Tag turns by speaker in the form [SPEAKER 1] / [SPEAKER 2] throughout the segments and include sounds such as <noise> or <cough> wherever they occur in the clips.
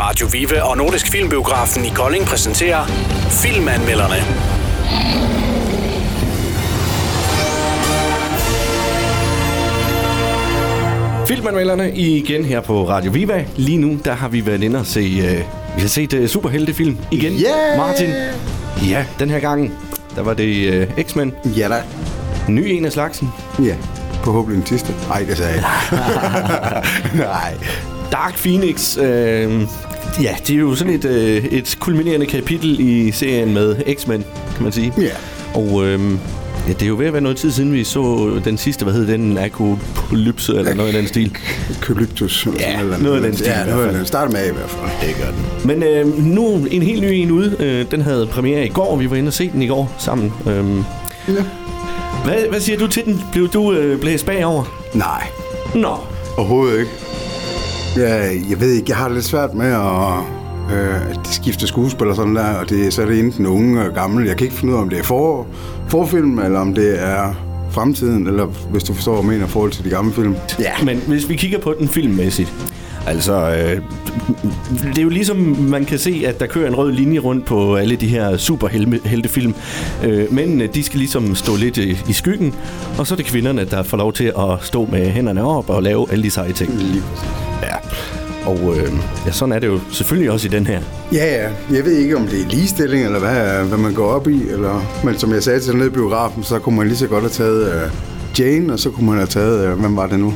[SPEAKER 1] Radio Vive og Nordisk Filmbiografen i Kolding præsenterer Filmanmelderne.
[SPEAKER 2] Filmanmelderne igen her på Radio Viva. Lige nu, der har vi været inde og se... Øh, vi har set øh, superheltefilm igen.
[SPEAKER 3] Yeah!
[SPEAKER 2] Martin. Ja, den her gang, der var det øh, X-Men.
[SPEAKER 3] Ja da.
[SPEAKER 2] Ny en af slagsen.
[SPEAKER 3] Ja. Forhåbentlig den sidste. Nej, det sagde jeg
[SPEAKER 2] <laughs>
[SPEAKER 3] ikke. Nej.
[SPEAKER 2] Dark Phoenix. Øh, ja, det er jo sådan et, øh, et kulminerende kapitel i serien med X-Men, kan man sige.
[SPEAKER 3] Ja.
[SPEAKER 2] Og øh, ja, det er jo ved at være noget tid siden, vi så den sidste, hvad hed den? Akopolypse eller noget i den stil.
[SPEAKER 3] Kyplyptus. eller
[SPEAKER 2] Ja,
[SPEAKER 3] sådan et eller andet.
[SPEAKER 2] noget af den stil i
[SPEAKER 3] Ja,
[SPEAKER 2] hvert
[SPEAKER 3] noget af
[SPEAKER 2] fald.
[SPEAKER 3] den. Start med A i hvert fald. Det gør den.
[SPEAKER 2] Men øh, nu en helt ny en ude. Øh, den havde premiere i går. Vi var inde og se den i går sammen. Øhm,
[SPEAKER 3] Ja.
[SPEAKER 2] hvad, hvad siger du til den? Blev du øh, blæst bagover?
[SPEAKER 3] Nej,
[SPEAKER 2] Nå.
[SPEAKER 3] overhovedet ikke. Ja, jeg ved ikke, jeg har det lidt svært med at øh, skifte skuespiller sådan der, og det, så er det enten unge og gamle. Jeg kan ikke finde ud af, om det er for, forfilm, eller om det er fremtiden, eller hvis du forstår, hvad jeg mener i forhold til de gamle film.
[SPEAKER 2] Ja. Men hvis vi kigger på den filmmæssigt. Altså, øh, det er jo ligesom, man kan se, at der kører en rød linje rundt på alle de her superheltefilm. Øh, mændene, de skal ligesom stå lidt i, i skyggen, og så er det kvinderne, der får lov til at stå med hænderne op og lave alle de seje ting. Ja. Og øh, ja, sådan er det jo selvfølgelig også i den her.
[SPEAKER 3] Ja, ja. Jeg ved ikke, om det er ligestilling, eller hvad, hvad man går op i. Eller... Men som jeg sagde til nede i biografen, så kunne man lige så godt have taget uh, Jane, og så kunne man have taget, uh, hvem var det nu?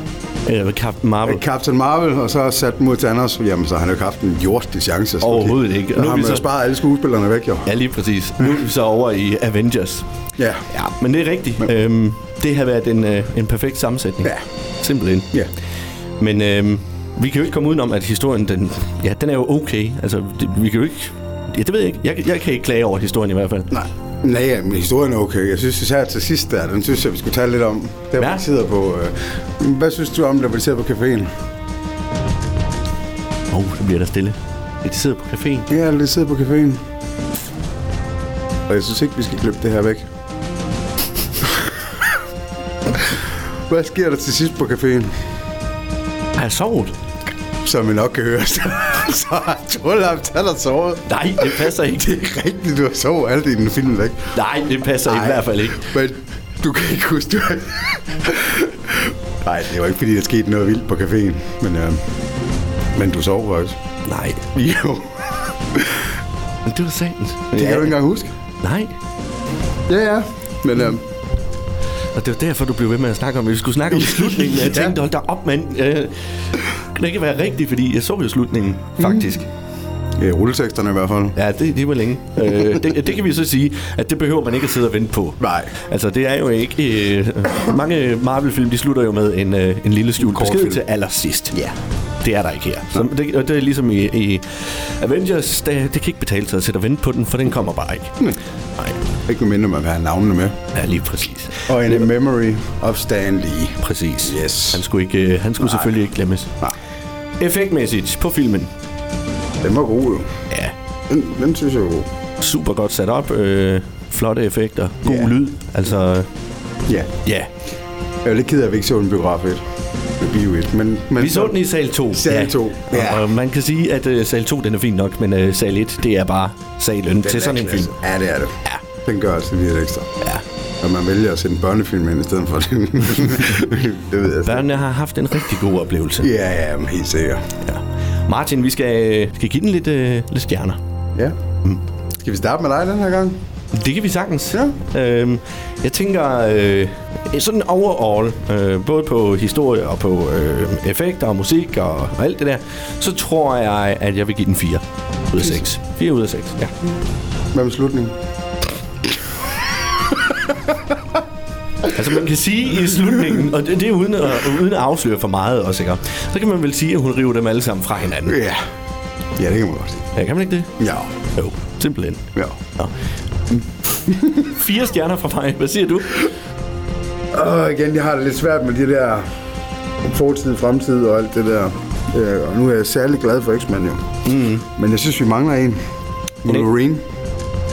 [SPEAKER 2] Øh, Captain Marvel.
[SPEAKER 3] Uh, Captain Marvel, og så sat den mod Thanos. Jamen, så har han jo ikke haft en jordig chance. så
[SPEAKER 2] Overhovedet ikke. Og
[SPEAKER 3] Nu
[SPEAKER 2] nu er
[SPEAKER 3] har
[SPEAKER 2] vi
[SPEAKER 3] man så...
[SPEAKER 2] så-
[SPEAKER 3] sparet alle skuespillerne væk, jo.
[SPEAKER 2] Ja, lige præcis. Nu er vi så over i Avengers.
[SPEAKER 3] Ja.
[SPEAKER 2] Ja, men det er rigtigt.
[SPEAKER 3] Men-
[SPEAKER 2] Øhm, det har været en, øh, en perfekt sammensætning.
[SPEAKER 3] Ja.
[SPEAKER 2] Simpelthen.
[SPEAKER 3] Ja.
[SPEAKER 2] Men øhm, vi kan jo ikke komme udenom, at historien, den, ja, den er jo okay. Altså, det, vi kan jo ikke... Ja, det ved jeg ikke. Jeg, jeg kan ikke klage over historien i hvert fald.
[SPEAKER 3] Nej. Nej, ja, men historien er okay. Jeg synes især til sidst der, den synes jeg, vi skulle tale lidt om. Der,
[SPEAKER 2] Ja.
[SPEAKER 3] ja. vi sidder på... Øh, hvad synes du om, da vi sidder på caféen?
[SPEAKER 2] Åh, oh, så bliver der stille. Ja, De sidder på caféen.
[SPEAKER 3] Ja, vi sidder på caféen. Og jeg synes ikke, vi skal klippe
[SPEAKER 2] <laughs>
[SPEAKER 3] det her væk. Hvad sker der til sidst på caféen?
[SPEAKER 2] Har jeg sovet?
[SPEAKER 3] Som I nok kan høre, så så har Torlap, han har sovet.
[SPEAKER 2] Nej, det passer <laughs>
[SPEAKER 3] Det
[SPEAKER 2] ikke.
[SPEAKER 3] er ikke rigtigt, du har sovet alt i den film, ikke?
[SPEAKER 2] Nej, det passer i hvert fald ikke.
[SPEAKER 3] Men du kan ikke huske, du Nej, det var ikke, fordi der skete noget vildt på caféen. Men, øh, men du sov også.
[SPEAKER 2] Nej,
[SPEAKER 3] Jo.
[SPEAKER 2] men det var sandt.
[SPEAKER 3] Det kan du ikke engang huske.
[SPEAKER 2] Nej,
[SPEAKER 3] Ja, ja. Men øh,
[SPEAKER 2] Og det var derfor, du blev ved med at snakke om det. Vi skulle <laughs> snakke om slutningen, og jeg
[SPEAKER 3] Ja.
[SPEAKER 2] tænkte, hold da op, mand. Øh, kan det ikke være rigtigt, fordi jeg så jo slutningen, faktisk. Mm.
[SPEAKER 3] ja, rulleteksterne i hvert fald.
[SPEAKER 2] Ja, det, det var længe. øh, det, det kan vi så sige, at det behøver man ikke at sidde og vente på.
[SPEAKER 3] Nej.
[SPEAKER 2] Altså, det er jo ikke... Øh, mange Marvel-film, de slutter jo med en, øh, en lille skjult
[SPEAKER 3] Kortfilm.
[SPEAKER 2] besked til allersidst.
[SPEAKER 3] Ja.
[SPEAKER 2] Det er der ikke her. Så det, og det er ligesom i, i Avengers, det, det kan ikke betale sig at sætte og vente på den, for den kommer bare ikke.
[SPEAKER 3] Nej.
[SPEAKER 2] Nej,
[SPEAKER 3] Ikke mindre man vil have navnene med.
[SPEAKER 2] ja, lige præcis.
[SPEAKER 3] Og in a memory of Stan Lee.
[SPEAKER 2] Præcis.
[SPEAKER 3] Yes.
[SPEAKER 2] Han skulle, ikke, øh, han skulle selvfølgelig ikke glemmes.
[SPEAKER 3] Nej,
[SPEAKER 2] Effektmæssigt på filmen.
[SPEAKER 3] Ah, den var god jo.
[SPEAKER 2] Ja.
[SPEAKER 3] Den, den synes jeg var god.
[SPEAKER 2] Super godt sat op. Øh, flotte effekter. God
[SPEAKER 3] Ja.
[SPEAKER 2] lyd. Altså, øh,
[SPEAKER 3] Ja.
[SPEAKER 2] ja.
[SPEAKER 3] Jeg er lidt ked af, at vi ikke så den biograf 1. Med bio 1. Men, men
[SPEAKER 2] Vi så den i sal 2.
[SPEAKER 3] Sal to.
[SPEAKER 2] Ja.
[SPEAKER 3] Ja.
[SPEAKER 2] Og, og man kan sige, at øh, sal 2 den er fin nok, men øh, sal 1, det er bare salen den til
[SPEAKER 3] er
[SPEAKER 2] sådan en
[SPEAKER 3] klasse.
[SPEAKER 2] film.
[SPEAKER 3] Ja, det er det.
[SPEAKER 2] Ja.
[SPEAKER 3] Den gør altså lige lidt ekstra.
[SPEAKER 2] Ja.
[SPEAKER 3] Og man vælger at sætte en børnefilm ind i stedet for den. <laughs> det ved jeg slet ikke.
[SPEAKER 2] Børnene har haft en rigtig god oplevelse.
[SPEAKER 3] Ja, ja, men helt sikkert.
[SPEAKER 2] Ja. Martin, vi skal, øh, skal give den lidt, øh, lidt stjerner.
[SPEAKER 3] Ja. Mm. Skal vi starte med dig den her gang?
[SPEAKER 2] Det kan vi sagtens.
[SPEAKER 3] Ja.
[SPEAKER 2] Øhm, jeg tænker øh, sådan overall, øh, både på historie og på øh, effekter og musik og, og alt det der, så tror jeg, at jeg vil give den 4 ud af 6. 4 ud af 6, ja.
[SPEAKER 3] Hvad med slutningen?
[SPEAKER 2] Altså man kan sige i slutningen, og det, det er uden at, uden at afsløre for meget også, ikke? Så kan man vel sige, at hun river dem alle sammen fra hinanden.
[SPEAKER 3] Ja. Ja, det kan man godt sige.
[SPEAKER 2] Ja, kan man ikke det?
[SPEAKER 3] Ja.
[SPEAKER 2] Jo, simpelthen.
[SPEAKER 3] Ja.
[SPEAKER 2] Nå. Fire stjerner fra mig. Hvad siger du?
[SPEAKER 3] Og igen, jeg har det lidt svært med de der fortid, fremtid og alt det der. Øh, og nu er jeg særlig glad for X-Men jo.
[SPEAKER 2] Mm-hmm.
[SPEAKER 3] Mm. Men jeg synes, vi mangler en. Wolverine.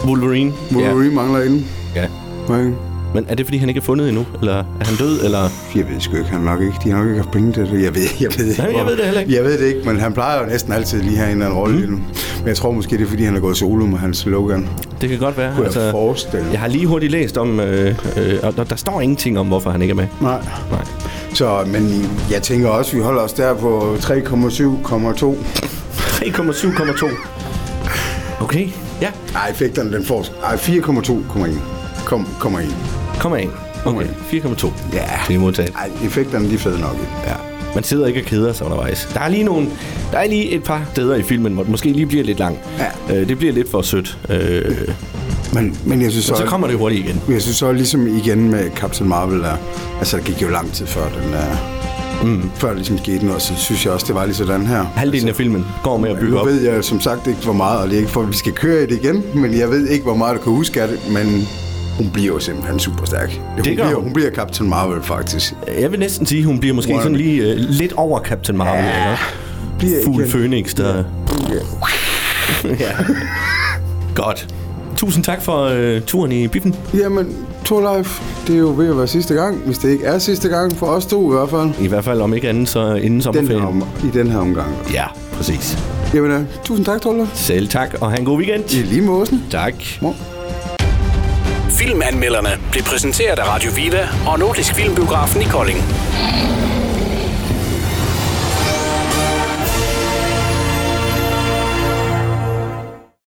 [SPEAKER 2] Wolverine.
[SPEAKER 3] Wolverine mangler en.
[SPEAKER 2] Ja. ja.
[SPEAKER 3] Okay.
[SPEAKER 2] Men er det, fordi han ikke er fundet endnu? Eller er han død? Eller...
[SPEAKER 3] Jeg ved sgu ikke, han nok ikke. De har nok ikke haft penge til det. Jeg ved, jeg ved ikke.
[SPEAKER 2] Nej, jeg
[SPEAKER 3] hvor-
[SPEAKER 2] ved det heller ikke. Mm-hmm.
[SPEAKER 3] Jeg ved det ikke, men han plejer jo næsten altid lige her en eller anden rolle mm. Men jeg tror måske, det er, fordi han er gået solo med hans slogan.
[SPEAKER 2] Det kan godt være. altså,
[SPEAKER 3] Kunne jeg forestille mig.
[SPEAKER 2] jeg har lige hurtigt læst om, øh, øh, og der, der står ingenting om, hvorfor han ikke er med.
[SPEAKER 3] Nej.
[SPEAKER 2] Nej.
[SPEAKER 3] Så, men jeg tænker også, vi holder os der på 3,7,2.
[SPEAKER 2] 3,7,2. Okay, ja.
[SPEAKER 3] Nej, effekterne, den får... Nej, 4,2,1. Kom, kommer ind.
[SPEAKER 2] Kom af. Okay, 4,2.
[SPEAKER 3] Ja.
[SPEAKER 2] Det er modtaget.
[SPEAKER 3] Nej, effekterne, de er fede nok. Ja.
[SPEAKER 2] Man sidder ikke og keder sig undervejs. Der er lige, nogle, der er lige et par steder i filmen, hvor det måske lige bliver lidt lang.
[SPEAKER 3] Ja.
[SPEAKER 2] Øh, det bliver lidt for sødt. Øh,
[SPEAKER 3] Men, men jeg synes
[SPEAKER 2] så
[SPEAKER 3] også-
[SPEAKER 2] kommer det hurtigt igen.
[SPEAKER 3] Men Jeg synes så ligesom igen med Captain Marvel, der, altså der gik jo lang tid før den der, mm. før der ligesom skete noget, så synes jeg også, det var lige sådan her.
[SPEAKER 2] Halvdelen af filmen går med at bygge
[SPEAKER 3] Nu
[SPEAKER 2] op.
[SPEAKER 3] ved jeg som sagt ikke, hvor meget, og det er ikke for, at vi skal køre i det igen, men jeg ved ikke, hvor meget du kan huske af det, men hun bliver jo simpelthen super stærk. Hun,
[SPEAKER 2] gør
[SPEAKER 3] bliver,
[SPEAKER 2] hun.
[SPEAKER 3] hun bliver Captain Marvel, faktisk.
[SPEAKER 2] Jeg vil næsten sige, at hun bliver måske
[SPEAKER 3] Wow.
[SPEAKER 2] sådan lige øh, lidt over Captain Marvel. Ja.
[SPEAKER 3] Bliver
[SPEAKER 2] Fugl
[SPEAKER 3] igen.
[SPEAKER 2] Phoenix, der... <laughs> ja. Godt. Tusind tak for øh, turen i biffen.
[SPEAKER 3] Jamen, Tour Life, det er jo ved at være sidste gang, hvis det ikke er sidste gang, for os to i hvert fald.
[SPEAKER 2] I hvert fald om ikke andet, så inden
[SPEAKER 3] Den
[SPEAKER 2] sommerferien.
[SPEAKER 3] her, om, I den her omgang.
[SPEAKER 2] Ja, præcis.
[SPEAKER 3] Jamen, øh, tusind tak, Tour Life.
[SPEAKER 2] Selv tak, og have en god weekend.
[SPEAKER 3] I lige måsen.
[SPEAKER 2] Tak.
[SPEAKER 3] Mor.
[SPEAKER 1] Filmanmelderne blev præsenteret af Radio Viva og Nordisk Filmbiografen i Kolding.